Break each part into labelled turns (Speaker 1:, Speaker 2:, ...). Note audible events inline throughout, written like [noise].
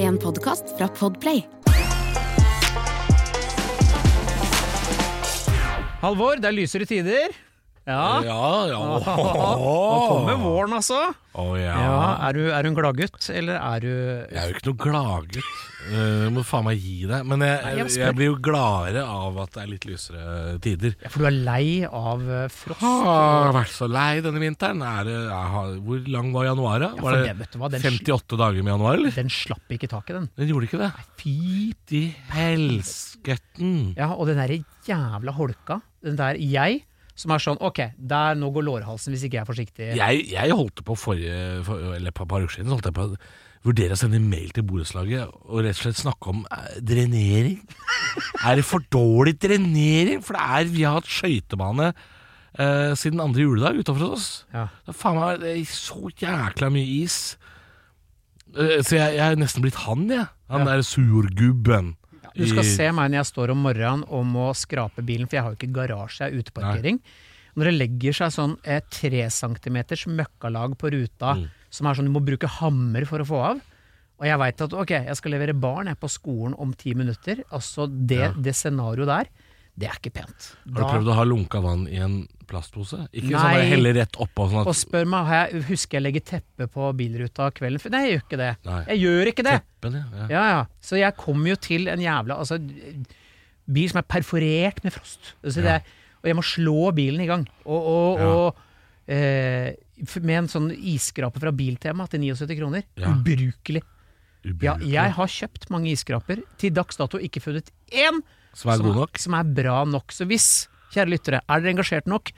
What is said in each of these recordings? Speaker 1: en podkast fra Podplay.
Speaker 2: Halvor, det er lysere tider. Ja.
Speaker 3: Ja, ja.
Speaker 2: [laughs] Nå kommer våren, altså.
Speaker 3: Å, ja.
Speaker 2: Ja, er, du, er du en gladgutt, eller er du
Speaker 3: Jeg er jo ikke noe gladgutt. Eh, må faen meg gi deg. Men jeg,
Speaker 2: Nei, jeg
Speaker 3: jeg,
Speaker 2: spør.
Speaker 3: blir jo gladere av at det er litt lysere tider.
Speaker 2: Ja, For du er lei av eh, frost?
Speaker 3: Har vært så lei denne vinteren. Er det, jeg har, hvor lang var januar, da?
Speaker 2: Ja,
Speaker 3: Var
Speaker 2: for det,
Speaker 3: det
Speaker 2: vet du hva, den,
Speaker 3: 58 dager med januar, eller?
Speaker 2: den slapp ikke taket, den.
Speaker 3: Den gjorde ikke det.
Speaker 2: Fy
Speaker 3: De helsketten.
Speaker 2: Ja, og den derre jævla holka. Den der jeg, som er sånn ok, der nå går lårhalsen hvis ikke jeg er forsiktig.
Speaker 3: Jeg, jeg holdt på forrige, for, eller et par- par uker siden, så holdt jeg på å vurdere å sende mail til borettslaget og rett og slett snakke om eh,
Speaker 2: [laughs]
Speaker 3: drenering. er det for dårlig drenering? For det er, vi har hatt skøytebane eh, siden andre juledag utenfor hos oss.
Speaker 2: Ja.
Speaker 3: Det er faen meg det er så jækla mye is. Eh, så jeg, jeg er nesten blitt han, jeg. Han der surgubben.
Speaker 2: Du skal
Speaker 3: i-
Speaker 2: se meg når jeg står om morgenen og må skrape bilen, for jeg har jo ikke garasje, jeg har uteparkering. Når det legger seg sånn eh, tre centimeters møkkalag på ruta,
Speaker 3: Mm.
Speaker 2: som er sånn du må bruke hammer for å få av, og jeg veit at ok, jeg skal levere barn jeg er på skolen om ti minutter, altså det, det scenarioet der, det er ikke pent.
Speaker 3: Har du prøvd å ha lunka vann i en plastpose? Ikke sånn
Speaker 2: Nei.
Speaker 3: bare helle rett oppå sånn
Speaker 2: og
Speaker 3: at
Speaker 2: spør meg har jeg, husker jeg legger teppe på bilruta kvelden før. Nei, jeg gjør ikke det.
Speaker 3: Nei.
Speaker 2: Jeg gjør ikke det!
Speaker 3: teppen, ja.
Speaker 2: Ja, ja. Så jeg kom jo til en jævla altså, bil som er perforert med frost. Så det,
Speaker 3: Ja.
Speaker 2: Og jeg må slå bilen i gang. Og, og,
Speaker 3: Ja.
Speaker 2: og eh, f- med en sånn isskrape fra Biltema til 79 kroner.
Speaker 3: Ja.
Speaker 2: Ubrukelig. Ja,
Speaker 3: Ubrukelig.
Speaker 2: jeg har kjøpt mange isskraper. Til dags dato ikke funnet én
Speaker 3: Som er god nok?
Speaker 2: som er bra nok. Så hvis, kjære lyttere, er dere engasjert nok,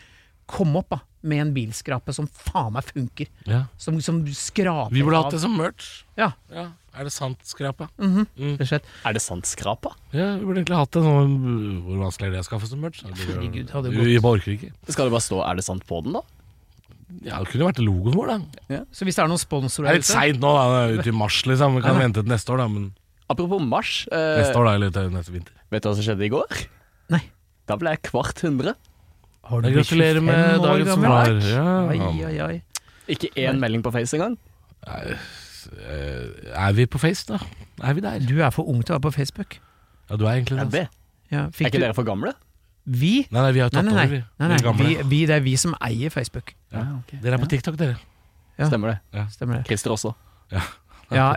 Speaker 2: kom opp da, med en bilskrape som faen meg funker.
Speaker 3: Ja.
Speaker 2: Som, som skraper
Speaker 3: Vi burde
Speaker 2: av-
Speaker 3: hatt det som merch.
Speaker 2: Ja,
Speaker 3: Ja, Er det sant, skrapa?
Speaker 2: Mm.
Speaker 3: Mm.
Speaker 2: rett og slett.
Speaker 4: Er det sant skrapa?
Speaker 3: Ja, vi burde egentlig hatt det sånn Hvor vanskelig er det å skaffe som merch?
Speaker 2: Herregud, hadde
Speaker 3: vi,
Speaker 2: gått.
Speaker 3: vi bare orker ikke.
Speaker 4: Skal det bare stå 'er det sant' på den, da?
Speaker 3: Ja, Det kunne vært logoen vår, da.
Speaker 2: Så hvis det er noen sponsorer der
Speaker 3: Det er litt
Speaker 2: ute-
Speaker 3: seint nå, da. det er Ut i mars, liksom. Vi kan vente til neste år, da. Men
Speaker 4: Apropos mars, eh,
Speaker 3: neste år, da, eller til neste vinter.
Speaker 4: vet du hva som skjedde i går?
Speaker 2: Nei.
Speaker 4: Da ble jeg kvart hundre.
Speaker 2: Har
Speaker 3: Jeg gratulerer med dagen som var.
Speaker 2: Oi,
Speaker 3: Ja.
Speaker 2: oi, oi.
Speaker 4: Ikke én melding på Face engang.
Speaker 3: Eh, Er vi på Face, da? Er vi der?
Speaker 2: Du er for ung til å være på Facebook.
Speaker 3: Ja, du er egentlig
Speaker 4: Er,
Speaker 3: det. altså.
Speaker 4: det.
Speaker 2: Ja,
Speaker 4: er
Speaker 2: fikk
Speaker 4: ikke
Speaker 2: du
Speaker 4: dere for gamle?
Speaker 2: Vi?
Speaker 3: Nei, nei, vi har jo
Speaker 2: Nei,
Speaker 3: tatt
Speaker 2: nei,
Speaker 3: over,
Speaker 2: nei.
Speaker 3: vi.
Speaker 2: nei,
Speaker 3: vi
Speaker 2: nei. Vi,
Speaker 3: gamle.
Speaker 2: vi. Det er vi som eier Facebook.
Speaker 4: Ja,
Speaker 3: Dere er på TikTok, dere.
Speaker 2: Ja.
Speaker 4: Stemmer det.
Speaker 2: Stemmer det.
Speaker 4: Christer også.
Speaker 2: Ja, ja,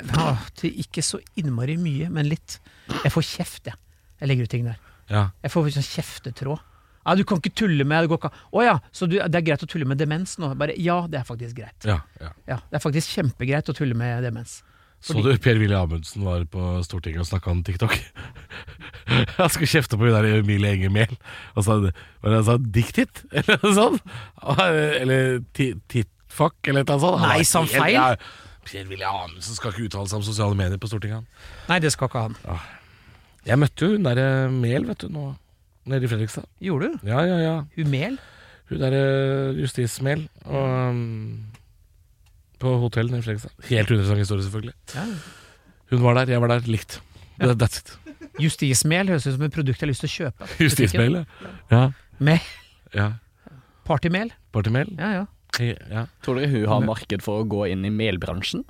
Speaker 2: til ikke så innmari mye, men litt. Jeg får kjeft, jeg. Jeg legger ut ting der.
Speaker 3: Ja.
Speaker 2: Jeg får sånn kjeftetråd. Ja, du kan ikke tulle med det går ikke. Å ja, så du, det er greit å tulle med demens nå? Bare, ja, det er faktisk greit.
Speaker 3: ja, ja.
Speaker 2: Ja, Det er faktisk kjempegreit å tulle med demens.
Speaker 3: Så du Per-Willy Amundsen var på Stortinget og snakka om TikTok? [laughs] Han skulle kjefte på hun der Emilie Enger Mehl, og sa hva sa han, diktit? [laughs] Eller noe sånt? Eller ti- tittfuck, eller noe sånt? Han
Speaker 2: Nei,
Speaker 3: var
Speaker 2: sa han
Speaker 3: helt-
Speaker 2: feil?
Speaker 3: ja, Per-Willy Amundsen skal ikke uttale seg om sosiale medier på Stortinget. han.
Speaker 2: Nei, det skal ikke han.
Speaker 3: Jeg møtte jo hun derre Mehl, vet du, nå nede i Fredrikstad.
Speaker 2: Gjorde du?
Speaker 3: Ja, ja, ja.
Speaker 2: Humel?
Speaker 3: Hun derre justis-Mehl. og, um, På hotellet nede i Fredrikstad. Helt uinteressant historie, selvfølgelig.
Speaker 2: Ja.
Speaker 3: Hun var der, jeg var der, likt. That- That's it.
Speaker 2: Justismel høres ut som et produkt jeg har lyst til å kjøpe.
Speaker 3: [laughs] Justismailet? Ja.
Speaker 2: Med
Speaker 3: ja.
Speaker 2: partymel.
Speaker 3: Partymail?
Speaker 2: Ja, ja.
Speaker 3: Ja.
Speaker 4: Tror dere hun har marked for å gå inn i melbransjen?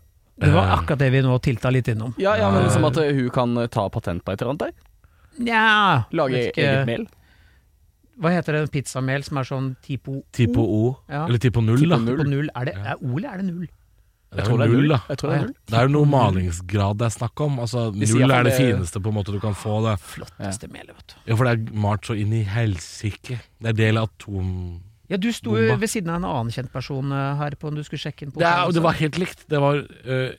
Speaker 2: Det var akkurat det vi nå tilta litt innom.
Speaker 4: Ja, ja, men Som at eh, hun kan eh, ta patent på et eller annet? der.
Speaker 2: Nja
Speaker 4: Lage
Speaker 2: vet ikke.
Speaker 4: eget mel?
Speaker 2: Hva heter det pizzamel som er sånn tipo
Speaker 3: Tipo O.
Speaker 2: Ja.
Speaker 3: Eller Tipo Null, da.
Speaker 2: På null. Er det er O eller er det null?
Speaker 3: Det er
Speaker 4: Jeg
Speaker 3: jo
Speaker 4: tror det er
Speaker 3: null, da.
Speaker 4: Jeg tror det er null.
Speaker 3: Det er jo noe malingsgrad det er snakk om. Altså,
Speaker 4: sier
Speaker 3: null er det
Speaker 4: at det-
Speaker 3: fineste på en måte du kan få. Det.
Speaker 2: Flotteste melet, vet du.
Speaker 3: Ja, for det er malt så inn i helsike. Det er del av atom...
Speaker 2: Ja, du sto jo
Speaker 3: Bomba.
Speaker 2: ved siden av en annen kjent person eh, her på om du skulle sjekke inn på
Speaker 3: Det, er,
Speaker 2: hotellet,
Speaker 3: og det
Speaker 2: så-
Speaker 3: var helt likt. Det var øh,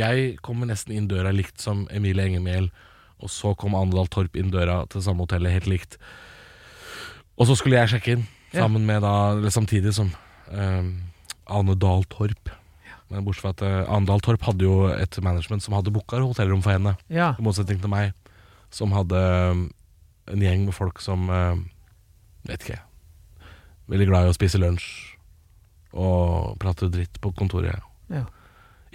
Speaker 3: Jeg kom nesten inn døra likt som Emilie Enger Mehl, og så kom Andal Torp inn døra til samme hotellet helt likt. Og så skulle jeg sjekke inn,
Speaker 2: Ja.
Speaker 3: sammen med da Eller samtidig som øh, Ane Dahl Torp. Men bortsett fra at øh, Ane Dahl Torp hadde jo et management som hadde booka hotellrom for henne,
Speaker 2: Ja.
Speaker 3: i motsetning til meg, som hadde øh, en gjeng med folk som øh, Vet ikke, veldig glad i å spise lunsj og prate dritt på kontoret.
Speaker 2: ja.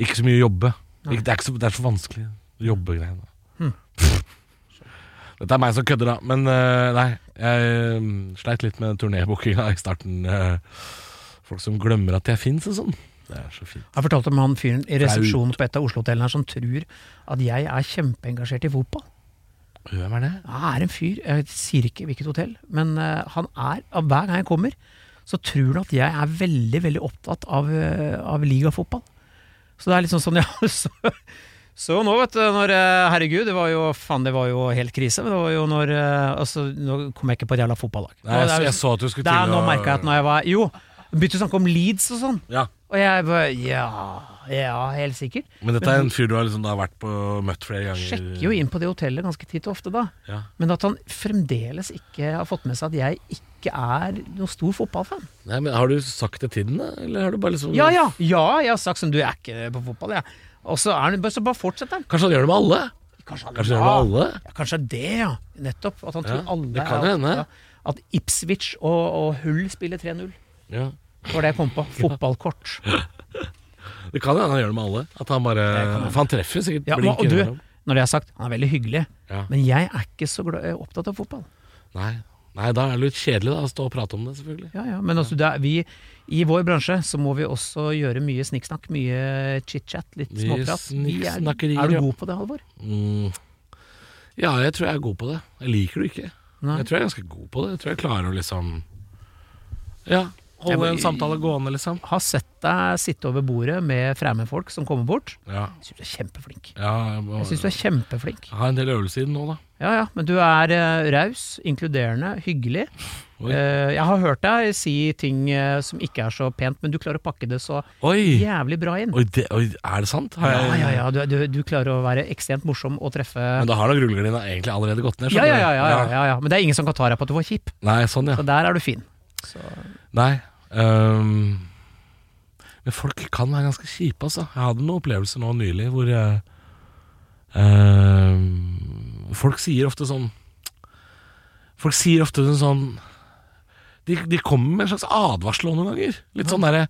Speaker 3: Ikke så mye jobbe.
Speaker 2: Nei.
Speaker 3: Ikke, det, er ikke så, det er så vanskelig, jobbegreiene.
Speaker 2: Hm.
Speaker 3: [laughs] Dette er meg som kødder, da. Men eh, nei, jeg um, Uh, mm, sleit litt med turnébookinga i starten. eh, folk som glemmer at jeg fins og sånn. Det er så fint.
Speaker 2: Jeg har fortalt om han fyren i resepsjonen på et av Oslo-hotellene her som tror at jeg er kjempeengasjert i fotball.
Speaker 3: Hvem er det?
Speaker 2: Han Ah, er en fyr, jeg sier ikke hvilket hotell, men eh, han er, av hver gang jeg kommer, så tror han at jeg er veldig, veldig opptatt av, eh, av ligafotball. Så det er liksom sånn, [laughs] ja, så, så nå vet du, når, eh, herregud, det var jo, faen, det var jo helt krise, men det var jo når, eh, altså, nå kom jeg ikke på et jævla fotballag. Og
Speaker 3: Nei,
Speaker 2: det
Speaker 3: jeg,
Speaker 2: er jo
Speaker 3: jeg så at du skulle
Speaker 2: det er,
Speaker 3: til
Speaker 2: nå
Speaker 3: å-
Speaker 2: merka jeg at når jeg var Jo, begynte å snakke om Leeds og sånn.
Speaker 3: Ja,
Speaker 2: Og jeg bare Ja, ja, helt sikkert.
Speaker 3: Men dette er en fyr du har liksom da vært på møtt flere ganger?
Speaker 2: Sjekker jo inn på det hotellet ganske titt og ofte, da.
Speaker 3: Ja.
Speaker 2: Men at han fremdeles ikke har fått med seg at jeg ikke er noen stor fotballfan.
Speaker 3: Nei, men Har du sagt det til den, da? Eller har du bare liksom
Speaker 2: Ja, ja, ja, jeg har sagt sånn Du er ikke på fotball, jeg. Og så er han bare- Så bare fortsetter han.
Speaker 3: Kanskje han gjør det med alle?
Speaker 2: Kanskje han
Speaker 3: Kanskje han gjør det med alle?
Speaker 2: Ja, kanskje det, ja. Nettopp. At han tror
Speaker 3: Ja,
Speaker 2: alle
Speaker 3: det kan
Speaker 2: er-
Speaker 3: hende.
Speaker 2: ja, At Ipswich og, og Hull spiller 3-0.
Speaker 3: Ja.
Speaker 2: Det var det jeg kom
Speaker 3: [laughs]
Speaker 2: på. Fotballkort.
Speaker 3: Det kan hende han gjør det med alle. At han bare For han treffer sikkert
Speaker 2: Ja,
Speaker 3: blink
Speaker 2: og du,
Speaker 3: innimellom.
Speaker 2: når det er sagt, han er veldig hyggelig,
Speaker 3: Ja.
Speaker 2: men jeg er ikke så glad, opptatt av fotball.
Speaker 3: Nei. Nei, da er det litt kjedelig da å stå og prate om det, selvfølgelig.
Speaker 2: Ja, ja, men altså, det er, vi, i vår bransje så må vi også gjøre mye snikksnakk, mye chit-chat, litt
Speaker 3: Mye
Speaker 2: småprat. Vi er,
Speaker 3: snikksnakkerier,
Speaker 2: er du
Speaker 3: ja.
Speaker 2: god på det, Halvor?
Speaker 3: Mm. Ja, jeg tror jeg er god på det. Jeg liker det ikke.
Speaker 2: Nei.
Speaker 3: Jeg tror jeg er ganske god på det. Jeg tror jeg klarer å liksom Ja,
Speaker 2: Jeg må-
Speaker 3: holde en samtale gående, liksom.
Speaker 2: Har sett deg sitte over bordet med fremmedfolk som kommer bort.
Speaker 3: Ja.
Speaker 2: Jeg syns du er kjempeflink.
Speaker 3: ja jeg, må,
Speaker 2: Jeg syns du er kjempeflink.
Speaker 3: jeg har en del øvelser i den nå, da.
Speaker 2: Ja ja, men du er eh, raus, inkluderende, hyggelig.
Speaker 3: Oi.
Speaker 2: Eh, jeg har hørt deg si ting eh, som ikke er så pent, men du klarer å pakke det så
Speaker 3: Oi!
Speaker 2: jævlig bra inn.
Speaker 3: Oi, det, oi er det sant? Har jeg,
Speaker 2: Ja, ja, ja. Du, du, du klarer å være ekstremt morsom og treffe
Speaker 3: Men da har nok rullegardina egentlig allerede gått ned.
Speaker 2: ja ja
Speaker 3: skjønner
Speaker 2: ja, ja,
Speaker 3: du?
Speaker 2: ja, ja, ja. Men det er ingen som kan ta deg på at du var kjip.
Speaker 3: Nei, sånn ja.
Speaker 2: Så der er du fin. Så,
Speaker 3: Nei. ehm, men folk kan være ganske kjipe, altså. Jeg hadde noen opplevelser nå nylig hvor øh, jeg, ehm, Folk sier ofte sånn Folk sier ofte en sånn de, de kommer med en slags advarsel også noen ganger. Litt sånn derre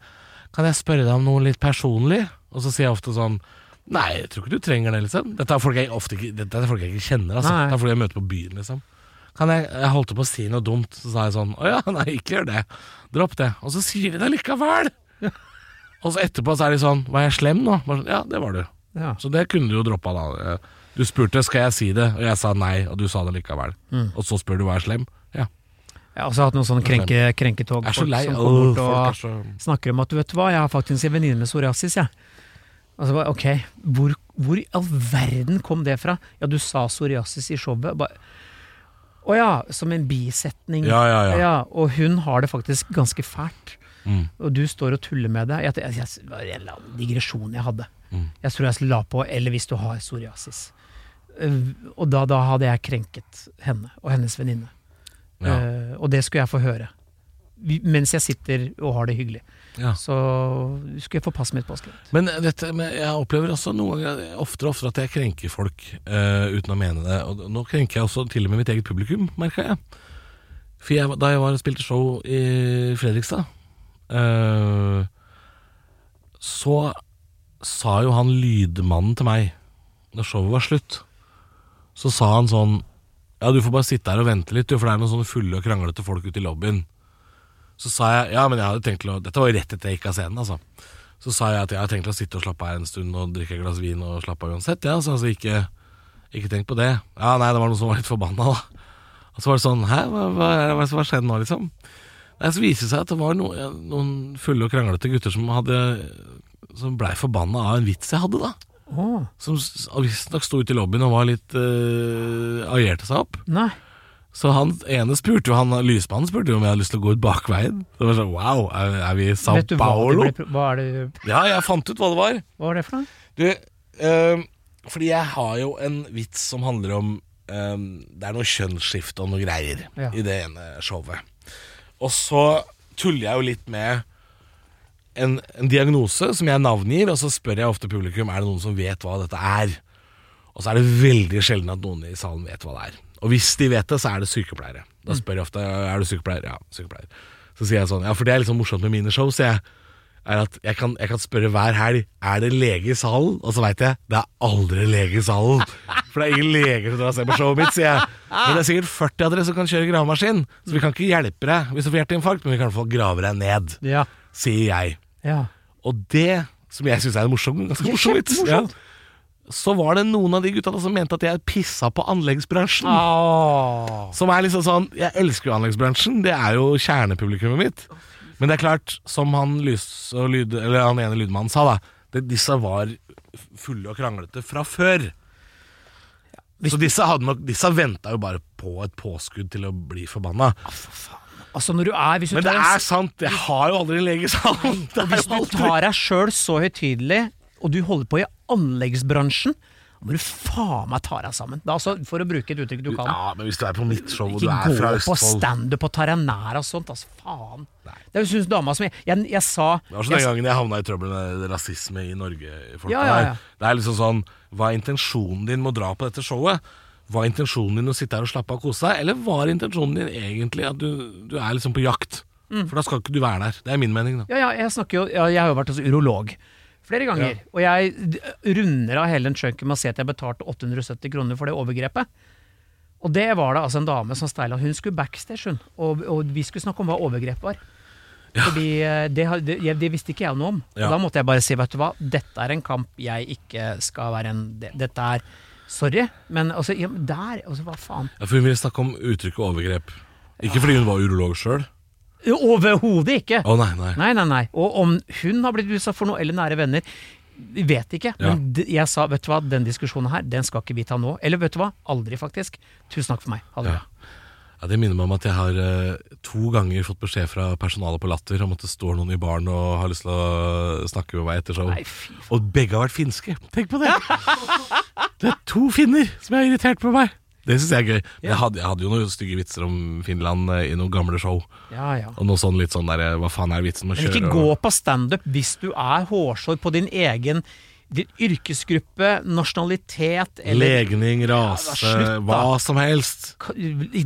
Speaker 3: Kan jeg spørre deg om noe litt personlig? Og så sier jeg ofte sånn Nei, jeg tror ikke du trenger det, liksom. Dette er folk jeg, ofte ikke, dette er folk jeg ikke kjenner, altså.
Speaker 2: Nei.
Speaker 3: Det er folk jeg møter på byen, liksom. Kan jeg, jeg holdt på å si noe dumt, så sa jeg sånn Å ja, [laughs] nei, ikke gjør det. Dropp det. Og så sier de det likevel! Og så etterpå så er de sånn Var jeg slem nå? Bare sånn, ja, det var du.
Speaker 2: ja.
Speaker 3: Så det kunne du jo droppa da. Du spurte skal jeg si det, og jeg sa nei, og du sa det likevel.
Speaker 2: Mm.
Speaker 3: Og så spør du var jeg slem. Ja.
Speaker 2: Jeg har også hatt noen sånne krenke, krenketog.
Speaker 3: Jeg er så
Speaker 2: folk
Speaker 3: lei.
Speaker 2: Som
Speaker 3: Åh,
Speaker 2: kommer bort
Speaker 3: folk er
Speaker 2: og
Speaker 3: så
Speaker 2: snakker om at du vet hva, jeg har faktisk en venninne med psoriasis, jeg. Og så bare, ok, hvor, hvor i all verden kom det fra? Ja, du sa psoriasis i showet. Bare, å ja, som en bisetning.
Speaker 3: Ja, ja, ja.
Speaker 2: og hun har det faktisk ganske fælt.
Speaker 3: Mm.
Speaker 2: Og du står og tuller med det. Jeg, jeg, jeg, det var en eller annen digresjon jeg hadde.
Speaker 3: Mm.
Speaker 2: Jeg tror jeg la på 'eller hvis du har psoriasis'. Eh, Og da, da hadde jeg krenket henne og hennes venninne.
Speaker 3: Ja.
Speaker 2: Eh, og det skulle jeg få høre. Vi- Mens jeg sitter og har det hyggelig.
Speaker 3: Ja.
Speaker 2: Så skulle jeg få passet mitt påskrevet.
Speaker 3: Men, dette, men jeg opplever også noen ganger oftere og oftere at jeg krenker folk eh, uten å mene det. Og nå krenker jeg også til og med mitt eget publikum, merka jeg. For jeg, da jeg var og spilte show i Fredrikstad, eh, så sa jo han lydmannen til meg, når showet var slutt, så sa han sånn Ja, du får bare sitte her og vente litt, du, for det er noen sånne fulle og kranglete folk ute i lobbyen. Så sa jeg Ja, men jeg hadde tenkt til å Dette var jo rett etter jeg gikk av scenen, altså. Så sa jeg at jeg har tenkt å sitte og slappe av en stund og drikke et glass vin og slappe av uansett. Ja, så altså ikke, ikke tenk på det. Ja, nei, det var noen som var litt forbanna, da. Og så var det sånn Hæ, hva, hva, hva, hva skjedde nå, liksom? Nei, så viste det seg at det var no, noen fulle og kranglete gutter som hadde Som blei forbanna av en vits jeg hadde, da.
Speaker 2: Å,
Speaker 3: Som s- visstnok sto ute i lobbyen og var litt uh, Agierte seg opp.
Speaker 2: nei.
Speaker 3: Så han ene spurte jo, han lysmannen spurte jo om jeg hadde lyst til å gå ut bakveien. Så det var sånn Wow, er, er vi i Sao
Speaker 2: Vet du hva det,
Speaker 3: Paulo?
Speaker 2: ble, pro- hva, er det,
Speaker 3: Ja, jeg fant ut hva det var.
Speaker 2: hva var det for noe?
Speaker 3: Du, øhm, fordi jeg har jo en vits som handler om øhm, Det er noe kjønnsskifte og noe greier
Speaker 2: Ja.
Speaker 3: i det ene showet. Og så tuller jeg jo litt med en, en diagnose som jeg navngir, og så spør jeg ofte publikum er det noen som vet hva dette er. Og så er det veldig sjelden at noen i salen vet hva det er. Og hvis de vet det, så er det sykepleiere. Da spør jeg ofte er du sykepleier. Ja, sykepleier. Så sier jeg sånn, ja, for det er liksom morsomt med mine show, sier jeg. Er at jeg kan, jeg kan spørre hver helg er det lege i salen, og så veit jeg det er aldri lege i salen. For det er ingen leger som drar og ser på showet mitt, sier jeg. Men det er sikkert 40 av dere som kan kjøre gravemaskin, så vi kan ikke hjelpe deg hvis du får hjerteinfarkt, men vi kan i hvert fall grave deg ned,
Speaker 2: Ja.
Speaker 3: sier jeg.
Speaker 2: ja.
Speaker 3: Og det, som jeg syns er en morsom, ganske morsom vits, ja. så var det noen av de gutta da som mente at jeg pissa på anleggsbransjen.
Speaker 2: Ah.
Speaker 3: Som er liksom sånn Jeg elsker jo anleggsbransjen, det er jo kjernepublikummet mitt. Men det er klart, som han lys og lyd, Eller han ene lydmannen sa, da. Det, disse var fulle og kranglete fra før. Så disse, hadde nok- disse venta jo bare på et påskudd til å bli forbanna.
Speaker 2: Altså når du er, hvis du
Speaker 3: Men det
Speaker 2: tar en
Speaker 3: er sant, jeg har jo aldri en lege i salen. Det er
Speaker 2: Hvis
Speaker 3: jo
Speaker 2: du
Speaker 3: aldri
Speaker 2: tar deg sjøl så høytidelig, og du holder på i anleggsbransjen, da må du faen meg ta deg sammen. Da, altså, for å bruke et uttrykk du kan.
Speaker 3: Ja, men hvis du er på mitt show og du
Speaker 2: Ikke
Speaker 3: er fra
Speaker 2: gå på
Speaker 3: Østfold
Speaker 2: standup og taranæra og sånt, altså faen. Det er jo synes dama som jeg, jeg, jeg sa
Speaker 3: Det var sånn den
Speaker 2: jeg,
Speaker 3: gangen jeg havna i trøbbel med rasisme i Norge. folk
Speaker 2: Ja, ja, ja.
Speaker 3: der. Det er liksom sånn Hva er intensjonen din med å dra på dette showet? Var intensjonen din å sitte her og slappe av og kose deg, eller var intensjonen din egentlig at du, du er liksom på jakt? For da skal ikke du være der. Det er min mening, da.
Speaker 2: Mm. ja, ja, jeg snakker jo ja, Jeg har jo vært hos urolog flere ganger. Og jeg d- runder av hele den chunken med å si at jeg betalte 870 kroner for det overgrepet. Og det var det altså en dame som steila. Hun skulle backstage, hun. Og, og vi skulle snakke om hva overgrep var. Fordi eh, det, har- det, jeg- det visste ikke jeg noe om.
Speaker 3: Ja.
Speaker 2: Og da måtte jeg bare si, vet du hva, dette er en kamp jeg ikke skal være en det- Dette er Sorry, men altså, ja, men der altså, Hva faen?
Speaker 3: Ja, for hun ville snakke om uttrykket overgrep. Ikke fordi hun var urolog sjøl.
Speaker 2: Overhodet ikke!
Speaker 3: Å nei, nei.
Speaker 2: Nei, nei, nei. Og om hun har blitt utsatt for noe, eller nære venner, vi vet ikke.
Speaker 3: Ja.
Speaker 2: Men d- jeg sa, vet du hva, den diskusjonen her, den skal ikke vi ta nå. Eller vet du hva, aldri faktisk. Tusen takk for meg. Ha det
Speaker 3: Ja.
Speaker 2: bra.
Speaker 3: Ja, det minner meg om at jeg har eh, to ganger fått beskjed fra personalet på Latter om at det står noen i baren og har lyst til å snakke med meg etter show.
Speaker 2: Nei, fy faen.
Speaker 3: Og begge har vært finske. Tenk på det! Det er to finner som er irritert på meg. Det syns jeg er gøy. Men jeg hadde, jeg hadde jo noen stygge vitser om Finland eh, i noen gamle show.
Speaker 2: Ja, ja.
Speaker 3: Og noe sånn litt sånn derre Hva faen er vitsen med å
Speaker 2: Men
Speaker 3: kjøre
Speaker 2: ikke
Speaker 3: og-
Speaker 2: gå på standup hvis du er hårsår på din egen din yrkesgruppe, nasjonalitet eller
Speaker 3: Legning, rase,
Speaker 2: slutt, da.
Speaker 3: hva som helst.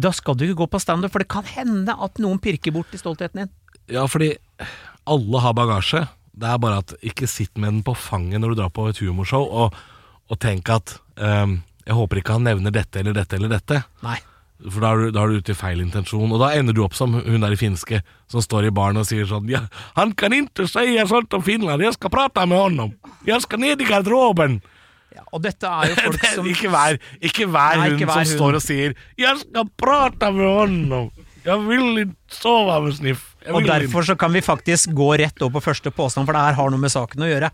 Speaker 2: Da skal du ikke gå på standup, for det kan hende at noen pirker bort i stoltheten din.
Speaker 3: Ja, fordi alle har bagasje. Det er bare at ikke sitt med den på fanget når du drar på et humorshow, og, og tenk at ehm, jeg håper ikke han nevner dette eller dette eller dette.
Speaker 2: Nei.
Speaker 3: For da er, du, da er du ute i feil intensjon, og da ender du opp som hun der i finske som står i baren og sier sånn ja, 'Han kan ikke si sånt om Finland, jeg skal prate med honom! Jeg skal ned i garderoben!'
Speaker 2: Ja, og dette
Speaker 3: [laughs]
Speaker 2: er jo folk
Speaker 3: Det er
Speaker 2: som
Speaker 3: ikke vær, ikke vær
Speaker 2: Nei,
Speaker 3: hun
Speaker 2: ikke vær
Speaker 3: som
Speaker 2: hun.
Speaker 3: står og sier 'Jeg skal prate med honom! Jeg vil ikke sove med Sniff!' Jeg
Speaker 2: Og
Speaker 3: vil ikke.»
Speaker 2: derfor så kan vi faktisk gå rett over på første påstand, for det her har noe med saken å gjøre.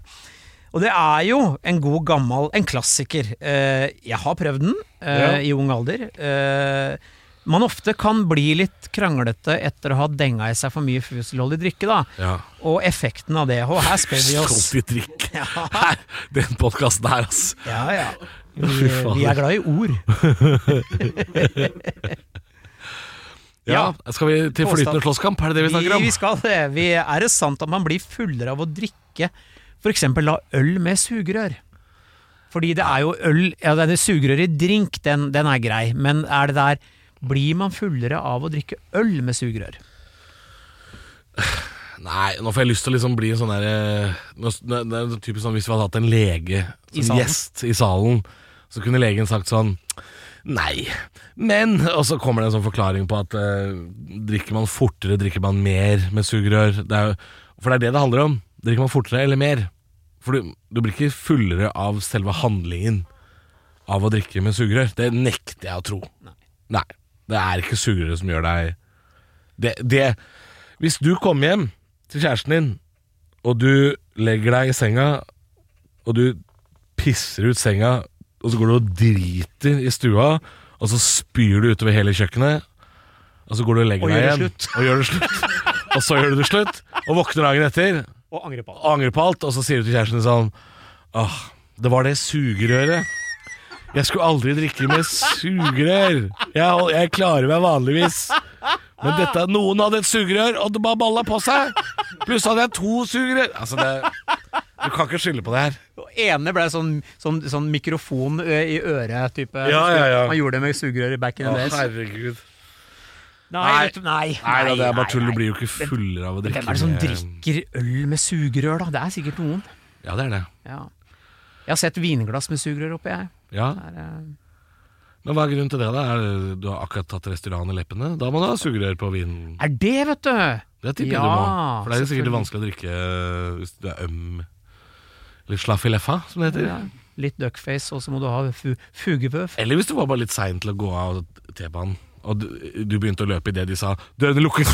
Speaker 2: Og det er jo en god gammel, en klassiker. Eh, Jeg har prøvd den eh, i ung alder. Eh, Man ofte kan bli litt kranglete etter å ha denga i seg for mye fuselholdig drikke, da.
Speaker 3: Ja.
Speaker 2: Og effekten av det. Og her spør vi oss.
Speaker 3: Stolt i drikk. Her, Den podkasten her, ass.
Speaker 2: Ja, ja. Vi,
Speaker 3: Fy fader.
Speaker 2: vi er glad i ord.
Speaker 3: Ja, Skal vi til
Speaker 2: Påstand.
Speaker 3: flytende slåsskamp? Er det det vi snakker om?
Speaker 2: Vi skal det. Vi, er det sant at man blir fullere av å drikke f.eks. la øl med sugerør? Fordi det er jo øl ja, det er Sugerør i drink, den, den er grei, men er det der Blir man fullere av å drikke øl med sugerør?
Speaker 3: Nei, nå får jeg lyst til å liksom bli en sånn der eh, nå s- Det det er typisk sånn hvis vi hadde hatt en lege
Speaker 2: I
Speaker 3: som
Speaker 2: salen.
Speaker 3: gjest i salen, så kunne legen sagt sånn Nei, men Og så kommer det en sånn forklaring på at eh, drikker man fortere, drikker man mer med sugerør? Det er, jo- for det er det det handler om. Drikker man fortere eller mer? For du, du blir ikke fullere av selve handlingen av å drikke med sugerør. Det nekter jeg å tro. Nei. det er ikke sugerøret som gjør deg det, det Hvis du kommer hjem til kjæresten din, og du legger deg i senga, og du pisser ut senga, og så går du og driter i stua, og så spyr du utover hele kjøkkenet, og så går du og legger
Speaker 2: Og
Speaker 3: deg
Speaker 2: gjør
Speaker 3: igjen,
Speaker 2: det
Speaker 3: og gjør det slutt. Og så gjør du det slutt, og våkner dagen etter,
Speaker 2: Og angre på
Speaker 3: og angrer på alt, og så sier du til kjæresten din sånn Åh, det var det sugerøret. Jeg skulle aldri drikke med sugerør. Jeg, jeg klarer meg vanligvis. Men dette, noen hadde et sugerør, og det bare balla på seg. Pluss hadde jeg to sugerør. Altså, det, du kan ikke skylde på det her.
Speaker 2: Og ene ble sånn, sånn, sånn mikrofon ø, i øret-type.
Speaker 3: Ja, ja, ja.
Speaker 2: Man gjorde det med sugerør i back in
Speaker 3: Å,
Speaker 2: the days.
Speaker 3: herregud.
Speaker 2: Nei,
Speaker 3: Nei.
Speaker 2: vet du, nei,
Speaker 3: Nei da, det er
Speaker 2: nei,
Speaker 3: bare tull. Eh.
Speaker 2: nei.
Speaker 3: Du blir jo ikke fullere av å drikke
Speaker 2: Hvem er det som
Speaker 3: med-
Speaker 2: drikker øl med sugerør, da? Det er sikkert noen.
Speaker 3: Ja, det er det.
Speaker 2: Ja. Jeg har sett vinglass med sugerør oppi, jeg.
Speaker 3: Ja.
Speaker 2: Det er, eh,
Speaker 3: Men hva er grunnen til det? da? Er det, du har akkurat tatt Restylane i leppene? Da må du ha sugerør på vinen.
Speaker 2: Er det, vet du!
Speaker 3: Det tipper jeg
Speaker 2: Ja,
Speaker 3: du må. For det er jo sikkert
Speaker 2: selvfølgelig.
Speaker 3: vanskelig å drikke eh, hvis du er øm eller slaff i leffa, som det heter.
Speaker 2: Litt duckface, og så må du ha fu fugepøff.
Speaker 3: Eller hvis du var bare litt sein til å gå av T-banen, og du, du begynte å løpe idet de sa 'dørene
Speaker 4: [laughs]
Speaker 3: lukkes'.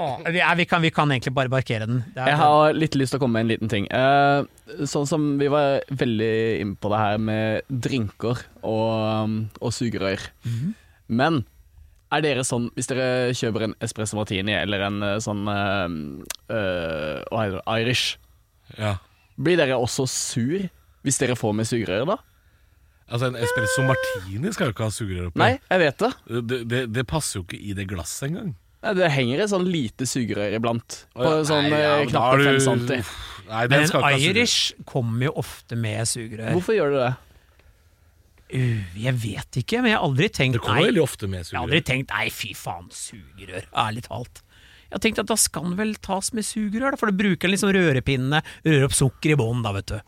Speaker 2: Å, Vi, er, vi, kan, vi kan egentlig bare markere den. Det er-
Speaker 4: Jeg har litt lyst til å komme med en liten ting. Eh, sånn som vi var veldig inne på det her med drinker og, um, og sugerør.
Speaker 3: Mhm.
Speaker 4: Men er dere sånn, hvis dere kjøper en espresso martini eller en eh, sånn eh, eh, hva heter det, Irish,
Speaker 3: Ja.
Speaker 4: blir dere også sur hvis dere får med sugerør da?
Speaker 3: Altså En espresso martini skal jo ikke ha sugerør oppi.
Speaker 4: Nei, jeg vet det.
Speaker 3: Det, det, det passer jo ikke i det glasset engang.
Speaker 4: Nei, Det henger et sånn lite sugerør iblant. På
Speaker 3: Nei,
Speaker 4: sånn
Speaker 3: ja,
Speaker 4: eh,
Speaker 3: men da har
Speaker 4: knappe
Speaker 3: du-
Speaker 4: fem centi.
Speaker 3: Nei, den
Speaker 2: Men
Speaker 3: skal ikke ha sugerør.
Speaker 2: Irish kommer jo ofte med sugerør.
Speaker 4: Hvorfor gjør du det?
Speaker 2: Uh, jeg vet ikke, men jeg har aldri tenkt
Speaker 3: Det kommer veldig ofte med
Speaker 2: Jeg har
Speaker 3: sugerør.
Speaker 2: aldri tenkt nei, fy faen, sugerør. Ærlig talt. Jeg har tenkt at da skal den vel tas med sugerør, da, for da bruker den liksom rørepinnene. Røre opp sukker i bånn, da, vet du.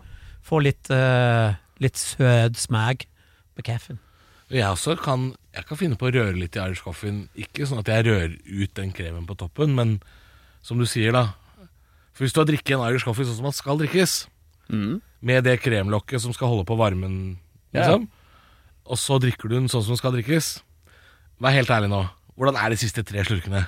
Speaker 2: Få litt, eh, litt søt smag på kaffen.
Speaker 3: Jeg også kan, jeg kan finne på å røre litt i Irish coffeen. Ikke sånn at jeg rører ut den kremen på toppen, men som du sier, da. For hvis du har drikket en Irish coffee sånn som den skal drikkes,
Speaker 4: Mm.
Speaker 3: med det kremlokket som skal holde på varmen, liksom, og så drikker du den sånn som den skal drikkes Vær helt ærlig nå. Hvordan er de siste tre slurkene?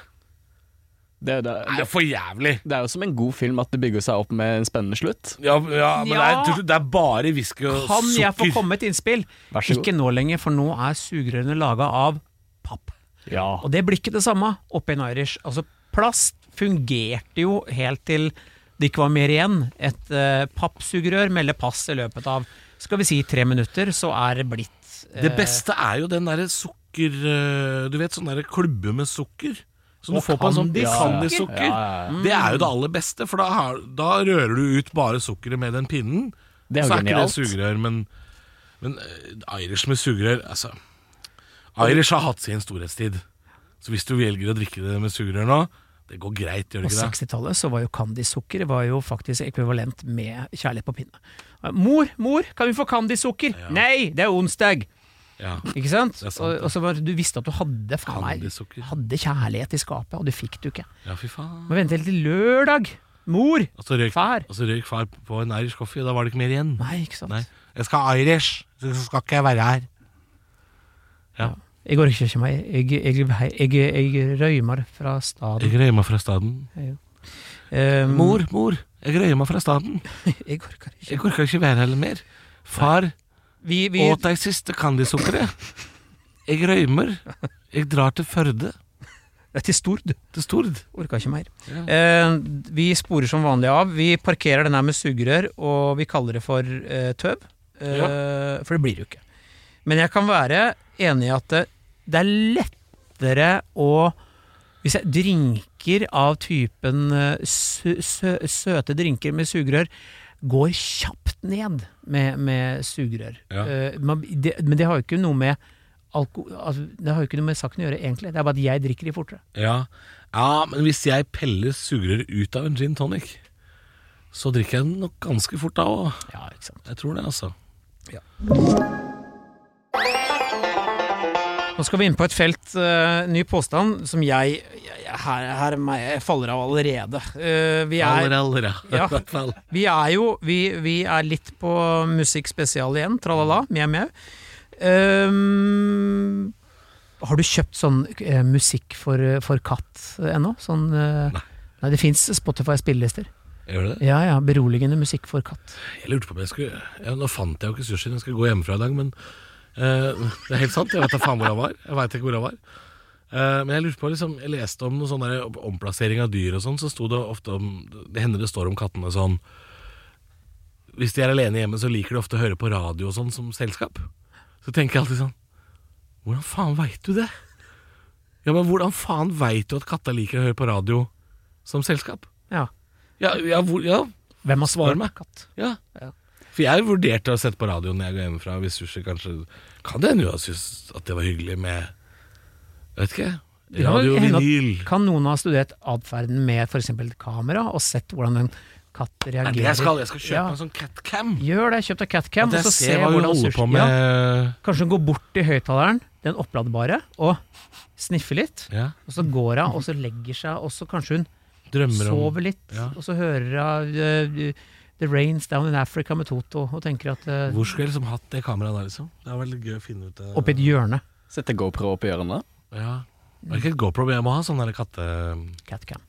Speaker 4: Det, er jo det,
Speaker 3: Det er jo for jævlig!
Speaker 4: Det er jo som en god film at det bygger seg opp med en spennende slutt.
Speaker 3: Ja, ja men Det,
Speaker 2: Ja.
Speaker 3: er, til slutt- det er bare whisky og
Speaker 2: Kan jeg få
Speaker 3: sukker.
Speaker 2: komme et innspill?
Speaker 4: Vær så god.
Speaker 2: Ikke nå lenger, for nå er sugerørene laga av papp.
Speaker 4: Ja.
Speaker 2: Og det blir ikke det samme oppe i en Irish. Altså, plast fungerte jo helt til det ikke var mer igjen. Et eh, pappsugerør melder pass i løpet av skal vi si tre minutter, så er det blitt eh,
Speaker 3: Det beste er jo den derre sukker øh, Du vet sånn derre klubbe med sukker. Som du
Speaker 2: Og
Speaker 3: får på en sånn
Speaker 2: candy-
Speaker 3: ja,
Speaker 4: Ja,
Speaker 3: candysukker.
Speaker 4: ja, ja.
Speaker 3: Det er jo det aller beste, for da, har, da rører du ut bare sukkeret med den pinnen.
Speaker 4: Det er
Speaker 3: så
Speaker 4: jo
Speaker 3: er ikke det
Speaker 4: genialt.
Speaker 3: sugerør, men, men øh, Irish med sugerør Altså, Irish har hatt sin storhetstid. Så hvis du velger å drikke det med sugerør nå, det går greit, gjør
Speaker 2: På
Speaker 3: det ikke det?
Speaker 2: 60-tallet så var jo candysukker var jo faktisk ekvivalent med kjærlighet på pinne. Mor, mor, kan vi få candysukker? Nei, det er onsdag!
Speaker 3: Ja.
Speaker 2: Ikke sant?
Speaker 3: Det er sant,
Speaker 2: og,
Speaker 3: det.
Speaker 2: og så var, du visste at du hadde, faen meg,
Speaker 3: Candysukker.
Speaker 2: hadde kjærlighet i skapet, og det fikk du ikke.
Speaker 3: ja, fy faen.
Speaker 2: Må vente helt til lørdag! Mor!
Speaker 3: Og så røyk
Speaker 2: Far.
Speaker 3: og så røyk far på en Irish coffee, og da var det ikke mer igjen.
Speaker 2: Nei, ikke sant.
Speaker 3: Nei. Jeg skal ha Irish, så skal ikke jeg være her.
Speaker 2: Jeg orker ikke meg. Jeg, jeg, jeg, jeg, jeg røymer fra staden.
Speaker 3: Jeg greier meg fra staden.
Speaker 2: Ehm,
Speaker 3: Mor, mor, jeg greier meg fra staden.
Speaker 2: Jeg orker ikke.
Speaker 3: Jeg orker ikke være her mer. Far,
Speaker 2: Vi, vi,
Speaker 3: åt deg siste candysukkeret. Jeg røymer. Jeg drar til Førde.
Speaker 2: det er Eh, til Stord.
Speaker 3: Til Stord.
Speaker 2: Orka ikke mer.
Speaker 3: Ja.
Speaker 2: Eh, vi sporer som vanlig av. Vi parkerer den her med sugerør, og vi kaller det for eh, tøv. Eh, For det blir det jo ikke. Men jeg kan være enig i at det, det er lettere å Hvis jeg drinker av typen eh, sø, sø, søte drinker med sugerør, går kjapt ned med, med sugerør.
Speaker 3: Ja.
Speaker 2: Eh, man, det, men det har jo ikke noe med alko, altså, Det har jo ikke noe med saken å gjøre, egentlig. Det er bare at jeg drikker de fortere.
Speaker 3: Ja. ja, men hvis jeg peller sugerør ut av en gin tonic, så drikker jeg den nok ganske fort da òg.
Speaker 2: Ja, ikke sant
Speaker 3: Jeg tror det, altså.
Speaker 2: Nå skal vi inn på et felt, eh, ny påstand, som jeg, jeg her, her er meg, jeg faller av allerede. Eh, vi, er,
Speaker 3: Aller, aller,
Speaker 2: Ja.
Speaker 3: [laughs] I hvert fall.
Speaker 2: vi er jo vi, vi er litt på musikkspesial igjen, tralala, mjau mjau. Ehm, har du kjøpt sånn eh, musikk for, for katt ennå? Sånn, eh,
Speaker 3: Nei.
Speaker 2: Nei, det fins Spotify-spillelister.
Speaker 3: Gjør det?
Speaker 2: Ja ja, beroligende musikk for katt.
Speaker 3: Jeg lurte på om jeg skulle ja, Nå fant jeg jo ikke sushien, jeg skal gå hjemmefra i dag, men eh, Det er helt sant, jeg vet da faen hvor han var. Jeg vet ikke hvor han var. Eh, men jeg lurte på, liksom, jeg leste om noe sånn der opp- omplassering av dyr og sånn, så sto det ofte om Det hender det står om kattene sånn Hvis de er alene hjemme, så liker de ofte å høre på radio og sånn som selskap. Så tenker jeg alltid sånn Hvordan faen veit du det? Ja, men hvordan faen veit du at katta liker å høre på radio som selskap?
Speaker 2: Ja.
Speaker 3: Ja, ja, hvor, ja
Speaker 2: Hvem har
Speaker 3: Svar
Speaker 2: spurt
Speaker 3: meg.
Speaker 2: Katt?
Speaker 3: ja.
Speaker 2: Ja.
Speaker 3: For jeg vurderte å sette på radioen når jeg går hjemmefra, hvis sushi kanskje Kan det hende du har syntes at det var hyggelig med Jeg Vet ikke.
Speaker 2: Det kan vel hende at-
Speaker 3: Radiovinyl.
Speaker 2: Kan noen ha studert atferden med f.eks. kamera og sett hvordan en katt
Speaker 3: Det
Speaker 2: reagerer.
Speaker 3: er det jeg skal. Jeg skal kjøpe
Speaker 2: Ja.
Speaker 3: en sånn catcam.
Speaker 2: Gjør det, kjøp deg catcam,
Speaker 3: At
Speaker 2: og
Speaker 3: jeg
Speaker 2: så se
Speaker 3: ser hva hun
Speaker 2: hvordan
Speaker 3: holder
Speaker 2: sushi
Speaker 3: på med.
Speaker 2: ja. Kanskje hun går bort til høyttaleren, den oppladbare, og sniffer litt.
Speaker 3: Ja.
Speaker 2: Og så går hun, og så legger seg, og så kanskje hun
Speaker 3: Drømmer om
Speaker 2: sover litt.
Speaker 3: Ja.
Speaker 2: Og så hører hun eh, The Rains Down in Africa med Toto, og tenker at eh,
Speaker 3: Hvor skulle jeg liksom hatt det kameraet der, liksom? Det er veldig gøy å finne ut det.
Speaker 2: Oppi et hjørne.
Speaker 4: Sette GoPro opp i hjørnet.
Speaker 3: Ja. Det er ikke et GoPro, men jeg må ha sånn der katte...
Speaker 2: Catcam.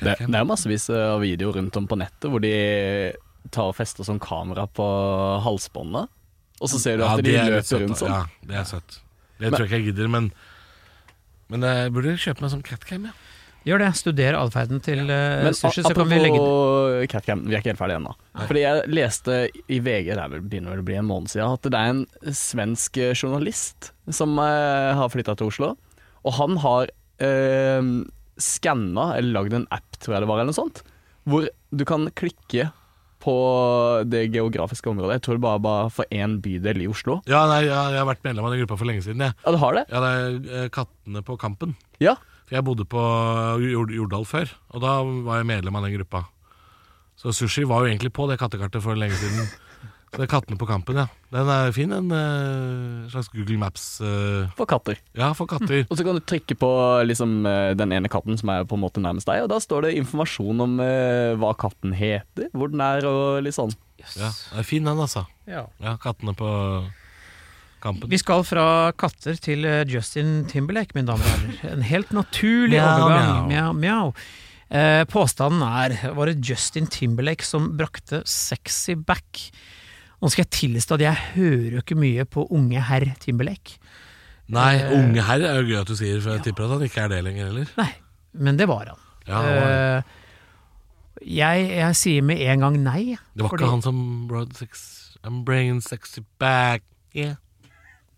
Speaker 4: Det, det er jo massevis av videoer rundt om på nettet hvor de tar og fester sånn kamera på halsbåndet, og så ser du at de
Speaker 3: det er litt søtt,
Speaker 4: løper rundt
Speaker 3: da.
Speaker 4: sånn.
Speaker 3: Ja, det er søtt. Det tror jeg ikke jeg gidder, men Men jeg burde kjøpe meg sånn catcam, ja.
Speaker 2: Gjør det. Studer atferden til eh,
Speaker 4: Men
Speaker 2: sushi, så
Speaker 4: apropos
Speaker 2: kan vi legge den
Speaker 4: catcam, vi er ikke helt ferdige ennå. Fordi jeg leste i VG, det er vel- begynner vel å bli en måned siden, at det er en svensk eh, journalist som eh, har flytta til Oslo. Og han har eh, skanna, eller lagd en app, tror jeg det var, eller noe sånt, hvor du kan klikke på det geografiske området. Jeg tror det bare var for én bydel i Oslo.
Speaker 3: Ja, nei, jeg, jeg har vært medlem av den gruppa for lenge siden, jeg.
Speaker 4: Ja, du har det?
Speaker 3: Ja, det er eh, Kattene på Kampen.
Speaker 4: Ja.
Speaker 3: For jeg bodde på Jord- Jordal før, og da var jeg medlem av den gruppa. Så sushi var jo egentlig på det kattekartet for
Speaker 2: [laughs]
Speaker 3: lenge siden. Så det er Kattene på Kampen, ja. Den er fin, en eh, slags Google Maps eh,
Speaker 4: For katter.
Speaker 3: Ja, for
Speaker 2: Mm.
Speaker 3: katter.
Speaker 4: Og så kan du trykke på liksom, eh, den ene katten som er på en måte nærmest deg, og da står det informasjon om eh, hva katten heter, hvor den er og litt sånn.
Speaker 3: Ja, det er fin den, altså.
Speaker 2: Ja.
Speaker 3: Ja, Kattene på Kampen.
Speaker 2: Vi skal fra katter til eh, Justin Timberlake, mine damer og herrer. En helt naturlig
Speaker 3: Mjau,
Speaker 2: overgang. Mjau,
Speaker 3: mjau.
Speaker 2: mjau. Eh, påstanden er var det Justin Timberlake som brakte sexy back. Nå skal jeg tilstå at jeg hører jo ikke mye på unge herr Timberlake.
Speaker 3: Nei,
Speaker 2: Eh.
Speaker 3: unge herr er jo gøy at du sier, for jeg tipper at han ikke er det lenger heller.
Speaker 2: Nei, men det var han.
Speaker 3: Ja, det var,
Speaker 2: Eh, jeg, jeg sier med en gang nei.
Speaker 3: det var
Speaker 2: fordi-
Speaker 3: ikke han som brought sex I'm bringing sexy back. Yeah.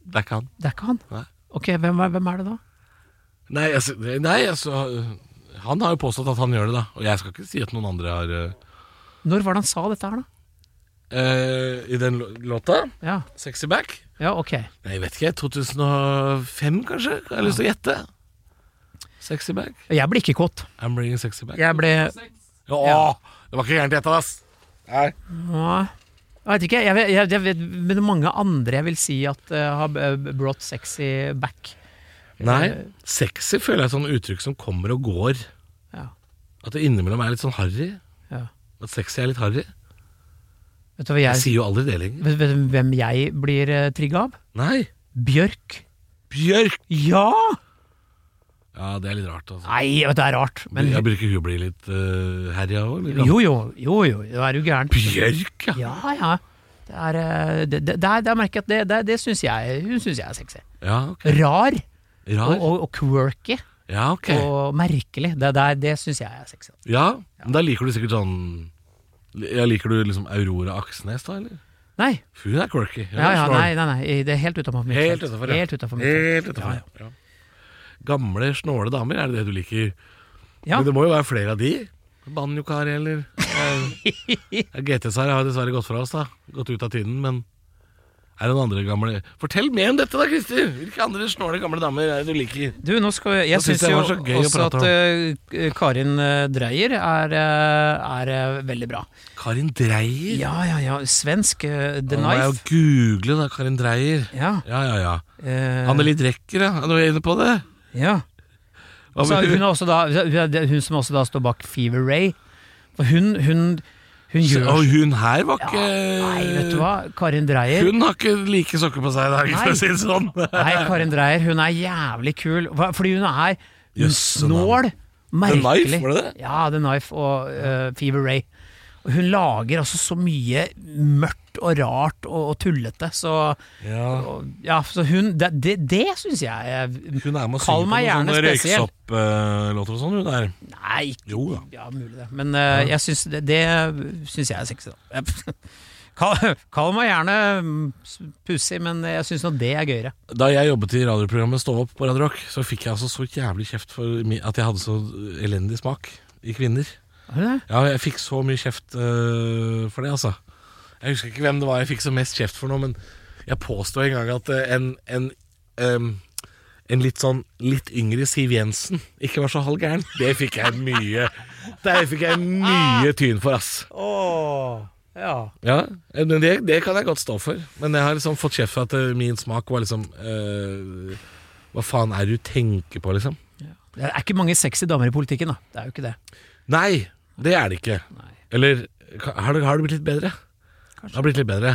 Speaker 3: Det er ikke han.
Speaker 2: Det er ikke han.
Speaker 3: Nei.
Speaker 2: Ok, hvem, er- hvem er det da?
Speaker 3: Nei, altså, det- nei, altså Han har jo påstått at han gjør det, da. Og jeg skal ikke si at noen andre har eh,
Speaker 2: Når var det han sa dette her, da?
Speaker 3: eh, I den lå- låta,
Speaker 2: Ja,
Speaker 3: Sexy Back
Speaker 2: ja ok.
Speaker 3: Nei, jeg vet ikke. 2005, kanskje? Jeg har lyst til å gjette. Sexy Back.
Speaker 2: Jeg ble ikke kåt.
Speaker 3: I'm bringing sexy back.
Speaker 2: Jeg ble
Speaker 3: Åh,
Speaker 2: Ja.
Speaker 3: Det var ikke gærent gjetta, ass. Nei.
Speaker 2: Nei. Jeg vet ikke, jeg vet, jeg, jeg vet, men det er mange andre jeg vil si at eh, har eh, brought sexy back.
Speaker 3: Nei, sexy føler jeg er et sånn uttrykk som kommer og går.
Speaker 2: Ja.
Speaker 3: At det innimellom er litt sånn harry.
Speaker 2: Ja.
Speaker 3: At sexy er litt harry.
Speaker 2: Vet du hva
Speaker 3: Jeg
Speaker 2: jeg,
Speaker 3: sier jo aldri det lenger.
Speaker 2: vet, vet, du hvem jeg blir uh, trigga av?
Speaker 3: Nei.
Speaker 2: Bjørk.
Speaker 3: Bjørk!
Speaker 2: Ja!
Speaker 3: Ja, det er litt rart, altså.
Speaker 2: Nei, jeg vet, det er rart. Men,
Speaker 3: jeg bruker hun bli litt uh, herja òg.
Speaker 2: jo, jo, jo, jo, da er du gæren.
Speaker 3: Bjørk, ja.
Speaker 2: Ja, ja. Det er, eh, det, det, der, der merker jeg at det, det, det syns jeg, hun syns jeg er sexy.
Speaker 3: Ja, ok.
Speaker 2: Rar og,
Speaker 3: Rar.
Speaker 2: og, og quirky
Speaker 3: Ja, ok.
Speaker 2: og merkelig. Det, det, er- det syns jeg er sexy.
Speaker 3: Ja, men da liker du sikkert sånn ja, Liker du liksom Aurora Aksnes, da, eller?
Speaker 2: Nei,
Speaker 3: For Hun er quirky. Hun er
Speaker 2: ja, ja,
Speaker 3: smart.
Speaker 2: nei, nei, nei, det er helt utenfor mitt
Speaker 3: Helt
Speaker 2: felt.
Speaker 3: utenfor, ja.
Speaker 2: Helt utenfor mitt felt.
Speaker 3: Helt utenfor. Ja. Gamle, snåle damer, er det det du liker?
Speaker 2: Ja.
Speaker 3: Men det må jo være flere av de? Banjokari,
Speaker 2: [laughs]
Speaker 3: eller Eh, GT-Sara har dessverre gått fra oss, da. Gått ut av tiden, men er det noen andre gamle Fortell mer om dette, da, Christer! Hvilke andre snåle gamle damer er det du liker?
Speaker 2: Du, nå skal Jeg, jeg
Speaker 3: Da
Speaker 2: syns
Speaker 3: synes jeg det
Speaker 2: jo
Speaker 3: var så gøy å
Speaker 2: også
Speaker 3: prate
Speaker 2: at eh, Karin eh, Dreyer er, eh, er eh, veldig bra.
Speaker 3: Karin Dreyer?
Speaker 2: Ja, ja, ja. Svensk. eh, The
Speaker 3: Nå må jeg jo
Speaker 2: Knife.
Speaker 3: google, da. Karin Dreyer.
Speaker 2: Ja.
Speaker 3: Ja, ja, ja.
Speaker 2: eh,
Speaker 3: Anneli Drecker, ja. Er du inne på det?
Speaker 2: ja.
Speaker 3: Hva
Speaker 2: Så
Speaker 3: med
Speaker 2: hun, er også da, hun som også da står bak Fever Ray. For hun, hun, hun gjør
Speaker 3: Og hun her var ikke
Speaker 2: Nei, vet du hva. Karin Dreyer
Speaker 3: Hun har ikke like sokker på seg i dag, for
Speaker 2: Nei.
Speaker 3: å si det sånn.
Speaker 2: Nei, Karin Dreyer, hun er jævlig kul. Hva- Fordi hun er hun
Speaker 3: Jøsse navn.
Speaker 2: snål, merkelig.
Speaker 3: Knife, var det det?
Speaker 2: Ja, The Knife og eh, Fever Ray. Og Hun lager altså så mye mørkt og rart og, og tullete, så og, Ja, så hun Det, det, det syns jeg er
Speaker 3: Hun er med og
Speaker 2: Kall
Speaker 3: synger
Speaker 2: meg
Speaker 3: på noen sånne
Speaker 2: gjerne spesiell.
Speaker 3: røyksopp-låter og sånn, hun der.
Speaker 2: Nei, ikke-
Speaker 3: Jo da.
Speaker 2: ja, mulig det. Men eh, jeg syns det, det syns jeg [laughs] er sexy, da. Kall, kall meg gjerne mm, pussig, men jeg syns nå det er gøyere.
Speaker 3: Da jeg jobbet i radioprogrammet Stå opp på Radio Rock, så fikk jeg altså så jævlig kjeft for mi- at jeg hadde så elendig smak i kvinner.
Speaker 2: Er det det?
Speaker 3: Ja, jeg fikk så mye kjeft øh, for det, altså. Jeg husker ikke hvem det var jeg fikk så mest kjeft for nå, men jeg påstod en gang at øh, en, en, øhm, en litt sånn litt yngre Siv Jensen ikke var så halvgæren. Det fikk jeg mye Der fikk jeg mye tyn for, ass.
Speaker 2: Åh, ja.
Speaker 3: Ja, men det, det kan jeg godt stå for. Men jeg har liksom fått kjeft for at eh, min smak var liksom eh, Hva faen er det du tenker på, liksom?
Speaker 2: Det er ikke mange sexy damer i politikken, da. Det er jo ikke det.
Speaker 3: Nei, det er det ikke.
Speaker 2: Nei.
Speaker 3: Eller ka- har det, har det blitt litt bedre? Det har blitt litt bedre.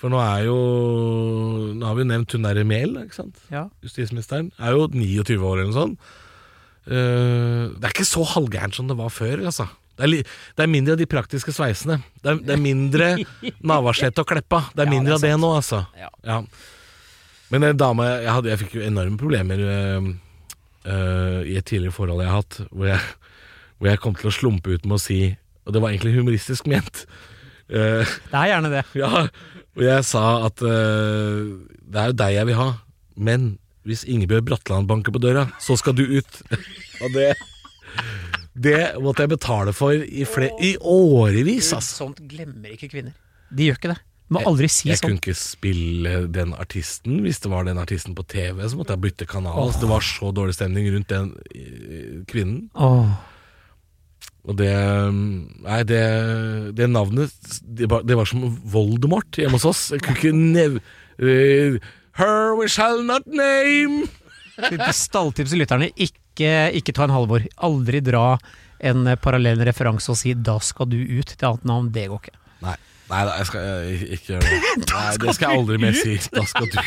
Speaker 3: For nå er jo Nå har vi jo nevnt hun derre Mehl, ikke sant?
Speaker 2: Ja.
Speaker 3: Justisministeren. Er jo 29 år eller noe sånt. Eh, det er ikke så halvgærent som det var før, altså. Det er, li, det er mindre av de praktiske sveisene. Det er, det er
Speaker 2: [laughs]
Speaker 3: mindre Navarsete og Kleppa. Det er
Speaker 2: Ja,
Speaker 3: mindre
Speaker 2: det er
Speaker 3: av det nå, altså.
Speaker 2: Ja.
Speaker 3: Men en dame jeg hadde Jeg fikk jo enorme problemer eh, eh, i et tidligere forhold jeg har hatt, hvor jeg, hvor jeg kom til å slumpe ut med å si Og det var egentlig humoristisk ment. eh,
Speaker 2: Det er gjerne det.
Speaker 3: ja, og jeg sa at eh, det er jo deg jeg vil ha, men hvis Ingebjørg Bratland banker på døra, så skal du ut. [laughs] og det Det måtte jeg betale for i, fle i årevis, altså.
Speaker 2: Sånt glemmer ikke kvinner. De gjør ikke det. Må aldri si
Speaker 3: Jeg kunne
Speaker 2: sånn.
Speaker 3: ikke spille den artisten. Hvis det var den artisten på TV, så måtte jeg bytte kanal. Altså, det var så dårlig stemning rundt den eh, kvinnen.
Speaker 2: Åh.
Speaker 3: Og det Nei, det, det navnet det var, det var som Voldemort hjemme hos oss. Jeg kunne ikke nev... eh, Her we shall not name!
Speaker 2: Litt Stalltips til lytterne. Ikke, ikke ta en Halvor. Aldri dra en eh, parallell referanse og si 'da skal du ut' til annet navn. Det går ikke.
Speaker 3: Nei, nei da, jeg skal eh, ikke gjøre [laughs] det. Nei, det skal jeg aldri mer si. Da skal du,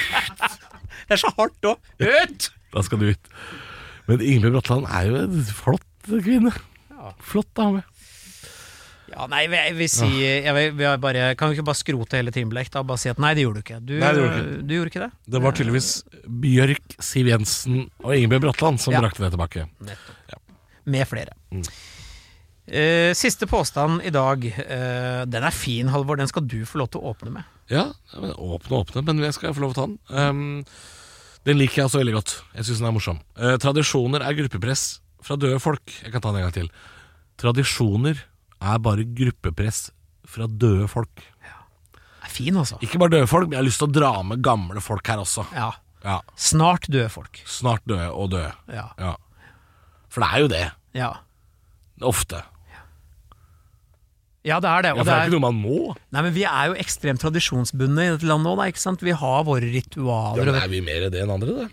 Speaker 2: Det er så hardt òg. Ut!
Speaker 3: da skal du ut. Men Ingebjørg Bratland er jo en flott kvinne.
Speaker 2: Ja.
Speaker 3: Flott dame.
Speaker 2: Ja, nei, jeg vil- jeg vil si jeg vil, vi har bare, Kan vi ikke bare skrote hele Timberlake? da? Bare si at nei, det gjorde du ikke. Du,
Speaker 3: Nei, det gjorde du
Speaker 2: du gjorde ikke det?
Speaker 3: Det var tydeligvis Bjørk, Siv Jensen og Ingebjørg Bratland som
Speaker 2: Ja.
Speaker 3: brakte det tilbake.
Speaker 2: Med flere.
Speaker 3: Mm.
Speaker 2: Eh, siste påstand i dag. Eh, den er fin, Halvor. Den skal du få lov til å åpne med.
Speaker 3: Ja, men åpne og åpne, men jeg skal få lov til å ta den. Um, den liker jeg også veldig godt. Jeg syns den er morsom. Eh, tradisjoner er gruppepress fra døde folk. Jeg kan ta den en gang til. Tradisjoner er bare gruppepress fra døde folk.
Speaker 2: Den er fin, altså.
Speaker 3: Ikke bare døde folk, men jeg har lyst til å dra med gamle folk her også.
Speaker 2: Ja.
Speaker 3: Ja,
Speaker 2: Snart døde folk.
Speaker 3: Snart døde og døde.
Speaker 2: Ja.
Speaker 3: Ja. For det er jo det.
Speaker 2: Ja,
Speaker 3: Ofte.
Speaker 2: ja det er det.
Speaker 3: Ja,
Speaker 2: Og det
Speaker 3: for det er
Speaker 2: er,
Speaker 3: ikke noe man må.
Speaker 2: nei, men vi er jo ekstremt tradisjonsbundne i dette landet nå, da. Ikke sant? Vi har våre
Speaker 3: Ja,
Speaker 2: ritualer.
Speaker 3: men
Speaker 2: og-
Speaker 3: er vi mer i det enn andre, det?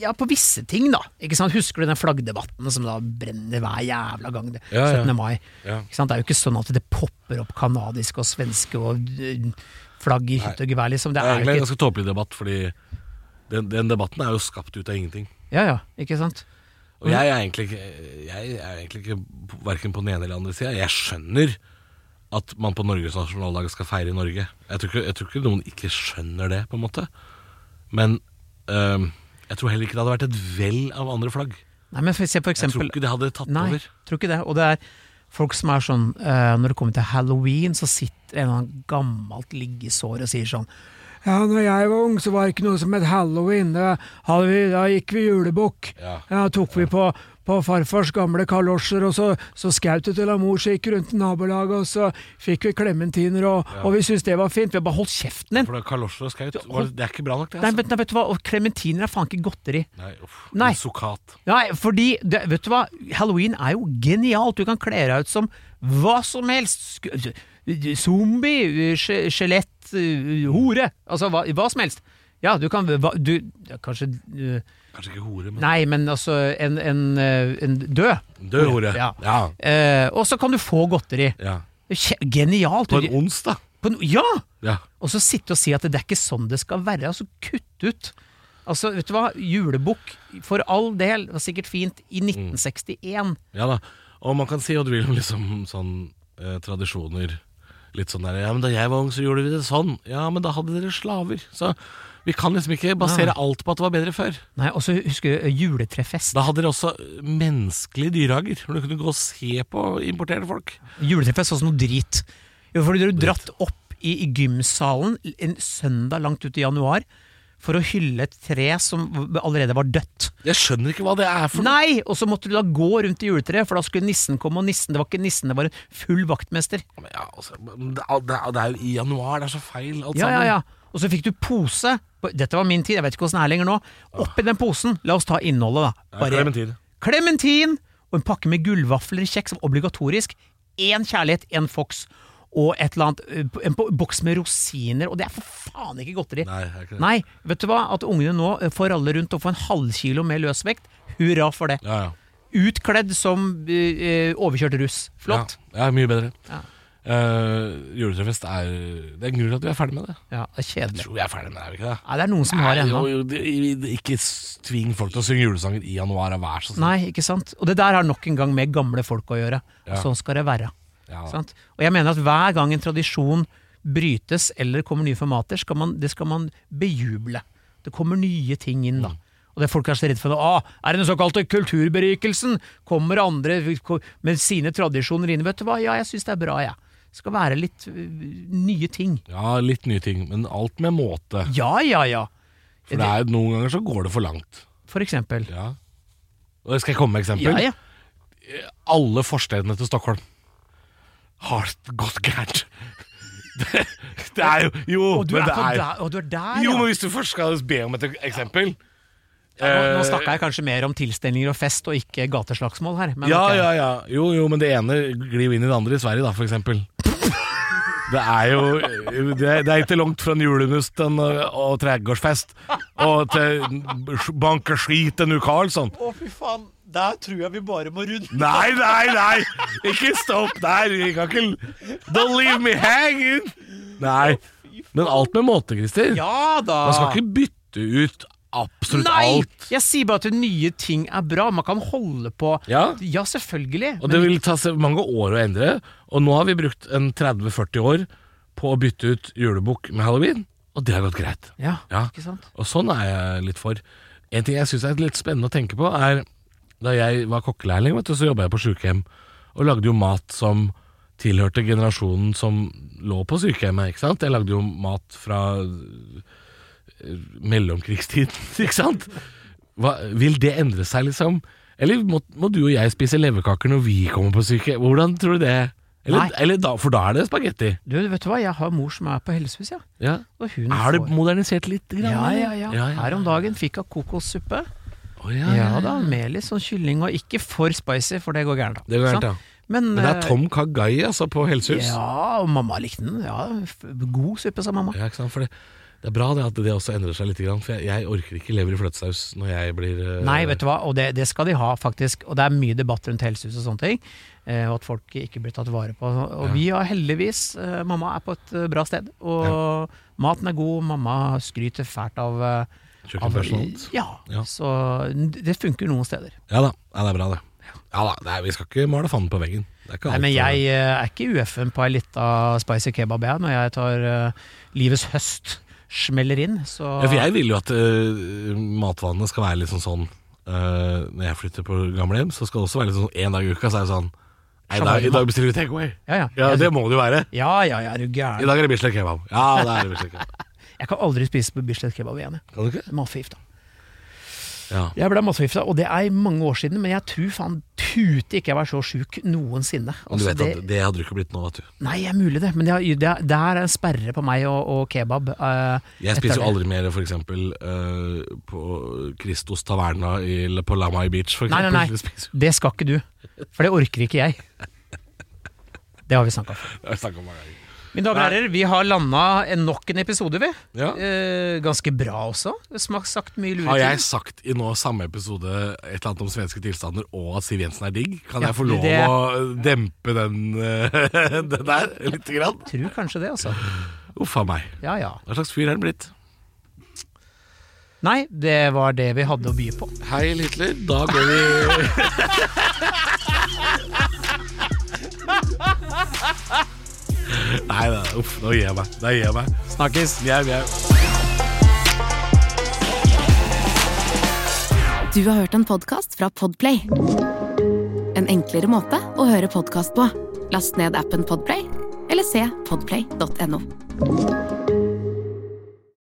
Speaker 2: ja, på visse ting, da. Ikke sant? Husker du den flaggdebatten som da brenner hver jævla gang? Det,
Speaker 3: Ja, ja.
Speaker 2: 17. mai.
Speaker 3: Ja.
Speaker 2: Ikke sant? Det er jo ikke sånn at det popper opp kanadiske og svenske og øh, flagg i hytt og gevær, liksom. Det
Speaker 3: Det er
Speaker 2: er
Speaker 3: egentlig en
Speaker 2: jo ikke
Speaker 3: ganske tåpelig debatt, fordi den, den debatten er jo skapt ut av ingenting.
Speaker 2: Ja, ja, ikke sant?
Speaker 3: Og
Speaker 2: Mm.
Speaker 3: jeg er egentlig ikke, jeg er egentlig ikke på- hverken på den ene eller andre sida. Jeg skjønner at man på Norges nasjonaldag skal feire i Norge. Jeg tror ikke, jeg tror ikke noen ikke skjønner det, på en måte. Men øhm, jeg tror heller ikke det hadde vært et vell av andre flagg.
Speaker 2: Nei, men se for
Speaker 3: Jeg tror
Speaker 2: eksempel
Speaker 3: ikke det hadde tatt
Speaker 2: Nei,
Speaker 3: over.
Speaker 2: tror ikke det. Og det er folk som er sånn eh, Når det kommer til halloween, så sitter en eller annen gammelt liggesår og sier sånn ja, når jeg var ung, så var det ikke noe som het halloween. Da, hadde vi, da gikk vi julebukk.
Speaker 3: Ja.
Speaker 2: tok vi på, på farfars gamle kalosjer, og så, så skjøt det til av mor, så gikk vi rundt i nabolaget, og så fikk vi klementiner, og, og vi syntes det var fint. Vi har bare holdt kjeften din!
Speaker 3: For det er kalosjer og skaut. var det- Det er ikke bra nok, det.
Speaker 2: Nei,
Speaker 3: Altså.
Speaker 2: vet, nei, vet du hva, og klementiner er faen ikke godteri.
Speaker 3: Nei, uff.
Speaker 2: Nei.
Speaker 3: Sukkat.
Speaker 2: Nei, fordi det, Vet du hva? Halloween er jo genialt. Du kan kle deg ut som hva som helst. Sk zombie, sk- skjelett, øh, hore. Altså hva, hva som helst. Ja, du kan hva, du, ja, Kanskje øh,
Speaker 3: Kanskje ikke hore, men
Speaker 2: Nei, men altså en, en, øh, en død.
Speaker 3: død hore.
Speaker 2: Ja.
Speaker 3: ja.
Speaker 2: Eh, og så kan du få godteri.
Speaker 3: ja.
Speaker 2: Kje- Genialt.
Speaker 3: På en onsdag.
Speaker 2: På en- ja!
Speaker 3: Ja.
Speaker 2: Og så sitte og si at det er ikke sånn det skal være. Altså, kutt ut. Altså, vet du hva? Julebukk, for all del, var sikkert fint i
Speaker 3: Mm.
Speaker 2: 1961.
Speaker 3: Ja da, og man kan si hva du vil om liksom sånn eh, tradisjoner. Litt sånn der, ja, men Da jeg var ung, så gjorde vi det sånn. Ja, men da hadde dere slaver. Så vi kan liksom ikke basere alt på at det var bedre før.
Speaker 2: Nei, og så husker jeg ø, juletrefest.
Speaker 3: Da hadde dere også eh, menneskelige dyrehager, hvor du kunne gå og se på importerte folk.
Speaker 2: Juletrefest var også noe drit. Jo, fordi dere dratt opp i, i gymsalen en søndag langt ut i januar for å hylle et tre som v- allerede var dødt.
Speaker 3: Jeg skjønner ikke hva det er for noe.
Speaker 2: Nei! Og så måtte du da gå rundt i juletreet, for da skulle nissen komme, og nissen, det var ikke nissen, det var en full vaktmester.
Speaker 3: Men Ja, altså, men det, er- det, er- det er jo i januar, det er så feil alt
Speaker 2: Ja, ja,
Speaker 3: sammen.
Speaker 2: ja. Og så fikk du pose. Dette var min tid, jeg vet ikke åssen det er lenger nå. Oppi den posen, la oss ta innholdet, da.
Speaker 3: Ja, clementin.
Speaker 2: Clementin og en pakke med gullvafler, kjeks, obligatorisk. Én kjærlighet, én Fox og et eller annet, eh, en bo- boks med rosiner. Og det er for faen ikke godteri.
Speaker 3: Nei, er ikke det.
Speaker 2: Nei, vet du hva? At ungene nå eh, får alle rundt og får en halvkilo med løsvekt, hurra for det.
Speaker 3: Ja, ja.
Speaker 2: Utkledd som eh, eh, overkjørt russ. Flott.
Speaker 3: Ja, ja mye bedre.
Speaker 2: Ja.
Speaker 3: Eh, juletrefest er Det er en grunn til at vi er ferdig med det.
Speaker 2: Ja, det er
Speaker 3: Jeg
Speaker 2: kjedelig.
Speaker 3: tror vi er ferdig med det, er vi ikke det?
Speaker 2: Nei, det er noen som har det
Speaker 3: Nei,
Speaker 2: ennå.
Speaker 3: jo, jo, det- det- Ikke s- tving folk til å synge julesanger i januar, da, vær så snill.
Speaker 2: Nei, ikke sant? Og det der har nok en gang med gamle folk å gjøre. Og
Speaker 3: Ja.
Speaker 2: sånn skal det være.
Speaker 3: Ja, da.
Speaker 2: Sant? Og jeg mener at hver gang en tradisjon brytes eller kommer nye formater, skal man, det skal man bejuble. Det kommer nye ting inn,
Speaker 3: Mm.
Speaker 2: da. Og det folk er så redde for nå, ah, er det den såkalte kulturberikelsen? Kommer andre ko- med sine tradisjoner inn? Vet du hva, ja, jeg syns det er bra, jeg. Det skal være litt øh, nye ting.
Speaker 3: ja, litt nye ting, men alt med måte.
Speaker 2: Ja, ja, ja.
Speaker 3: For det er, noen ganger så går det for langt.
Speaker 2: For eksempel.
Speaker 3: Ja. Og skal jeg komme med et
Speaker 2: Ja,
Speaker 3: eksempel?
Speaker 2: ja.
Speaker 3: alle forstedene til Stockholm har det gått gærent. [laughs] Det, det er jo Jo,
Speaker 2: Og du,
Speaker 3: men
Speaker 2: er
Speaker 3: det
Speaker 2: fra
Speaker 3: er
Speaker 2: der, og du er der,
Speaker 3: Jo,
Speaker 2: ja.
Speaker 3: men hvis du først skal be om et eksempel
Speaker 2: Nå, nå
Speaker 3: eh,
Speaker 2: snakka jeg kanskje mer om tilstelninger og fest og ikke gateslagsmål her. Men
Speaker 3: Ja,
Speaker 2: ok.
Speaker 3: ja, ja. Jo, jo, men det ene glir jo inn i det andre i Sverige, da, for eksempel. Det er jo Det er, det er ikke langt fra en julenust til en, eh, og tregårdsfest og til bankeskiten u Karlsson.
Speaker 2: Å, fy faen. Der tror jeg vi bare må runde.
Speaker 3: Nei, nei, nei! Ikke stopp der! Vi kan ikke Don't leave me hanging! Nei. Men alt med måte, Christer.
Speaker 2: Ja da!
Speaker 3: Man skal ikke bytte ut absolutt alt.
Speaker 2: Jeg sier bare at nye ting er bra. Man kan holde på.
Speaker 3: Ja.
Speaker 2: selvfølgelig.
Speaker 3: Og det vil ta se- mange år å endre. Og nå har vi brukt en 30-40 år på å bytte ut julebukk med halloween, og det har gått greit.
Speaker 2: ja,
Speaker 3: Ja.
Speaker 2: ikke sant?
Speaker 3: Og sånn er jeg litt for. En ting jeg syns er litt spennende å tenke på, er da jeg var kokkelærling, vet du, så jobba jeg på sykehjem og lagde jo mat som tilhørte generasjonen som lå på sykehjemmet. ikke sant? Jeg lagde jo mat fra eh, mellomkrigstiden, [laughs] ikke sant? Hva, vil det endre seg, liksom? Eller må, må du og jeg spise leverkaker når vi kommer på sykehjem? Hvordan tror du det?
Speaker 2: Nei.
Speaker 3: Eller, eller da, for da er det spagetti.
Speaker 2: Du, vet du hva? Jeg har mor som er på helsehus, ja.
Speaker 3: Ja.
Speaker 2: Og hun
Speaker 3: Er det
Speaker 2: får
Speaker 3: modernisert litt? Grann,
Speaker 2: ja, ja, ja,
Speaker 3: ja, ja.
Speaker 2: Her om dagen fikk hun kokossuppe.
Speaker 3: Å, ja, ja,
Speaker 2: Ja da, med litt sånn kylling, og ikke for spicy, for det går gærent. da.
Speaker 3: Det går gærent,
Speaker 2: Sant?
Speaker 3: ja.
Speaker 2: Men,
Speaker 3: Men det er
Speaker 2: eh,
Speaker 3: Tom Kagai altså, på helsehus. Ja.
Speaker 2: Ja, og mamma likte den. Ja, f- God suppe, sa mamma.
Speaker 3: ikke sant? For det, det er bra det at det også endrer seg litt, grann, for jeg, jeg orker ikke lever i fløtesaus når jeg blir eh,
Speaker 2: Nei, vet du hva, og det, det skal de ha, faktisk. Og det er mye debatt rundt helsehus og sånne ting. eh, Og at folk ikke blir tatt vare på. Og vi har heldigvis eh, Mamma er på et eh, bra sted, og maten er god. Mamma skryter fælt av, eh, av
Speaker 3: kjøkkenpersonalt.
Speaker 2: ja,
Speaker 3: Ja.
Speaker 2: så n- det funker noen steder.
Speaker 3: Ja da, ja, det er bra det. Ja da, nei, Vi skal ikke male fanden på veggen. Det er ikke
Speaker 2: Nei,
Speaker 3: alt,
Speaker 2: men jeg
Speaker 3: eh,
Speaker 2: eh, er ikke UF-en på ei lita spicy kebab jeg, når jeg tar eh, livets høst smeller inn. Så
Speaker 3: ja, For jeg vil jo at eh, matvanene skal være litt sånn sånn eh, Når jeg flytter på gamlehjem, så skal det også være litt sånn en dag i uka, så er det sånn Nei, i dag, i dag bestiller vi takeaway.
Speaker 2: ja, ja.
Speaker 3: Ja, det må det jo være.
Speaker 2: ja, ja, ja, er du
Speaker 3: I
Speaker 2: gæren.
Speaker 3: dag er det Bislett kebab. Ja, det er det Bislett
Speaker 2: [laughs]
Speaker 3: kebab.
Speaker 2: Jeg kan aldri spise på Bislett kebab igjen. jeg.
Speaker 3: Kan du ikke?
Speaker 2: Matforgifta.
Speaker 3: Ja.
Speaker 2: Jeg ble matforgifta, og det er mange år siden, men jeg tror faen tute ikke jeg var så sjuk noensinne.
Speaker 3: Men du
Speaker 2: Altså,
Speaker 3: vet at det hadde du ikke blitt nå, vet du.
Speaker 2: Nei, det er mulig det, men det, har- det, det er en sperre på meg og, og kebab. eh,
Speaker 3: Jeg
Speaker 2: etter
Speaker 3: spiser jo
Speaker 2: det.
Speaker 3: aldri mer for eksempel eh, på Christos Taverna i, eller på Lamai Beach for
Speaker 2: Nei, nei, nei.
Speaker 3: eksempel. [laughs] Jeg spiser-
Speaker 2: Det skal ikke du, for det orker ikke jeg. Det har vi snakka om.
Speaker 3: Jeg har snakket om mange ganger.
Speaker 2: Mine damer og herrer, vi har landa nok en episode, vi.
Speaker 3: Ja.
Speaker 2: Eh, ganske bra også. Det har sagt mye lure
Speaker 3: Har
Speaker 2: ting.
Speaker 3: jeg sagt i nå samme episode et eller annet om svenske tilstander og at Siv Jensen er digg? Kan
Speaker 2: Ja,
Speaker 3: jeg få lov
Speaker 2: det-
Speaker 3: å dempe den, eh, [laughs] den der lite grann?
Speaker 2: Tror kanskje det, altså.
Speaker 3: Uff a meg.
Speaker 2: Ja ja.
Speaker 3: Hva slags fyr er den blitt?
Speaker 2: Nei, det var det vi hadde å by på.
Speaker 3: Heil Hitler. Da går vi [laughs] Nei da, uff. Nå gir jeg meg. Da gir jeg meg.
Speaker 2: Snakkes.
Speaker 3: Mjau, mjau.
Speaker 1: Du har hørt en podcast fra Podplay En enklere måte å høre podcast på Last ned appen Podplay Eller se podplay.no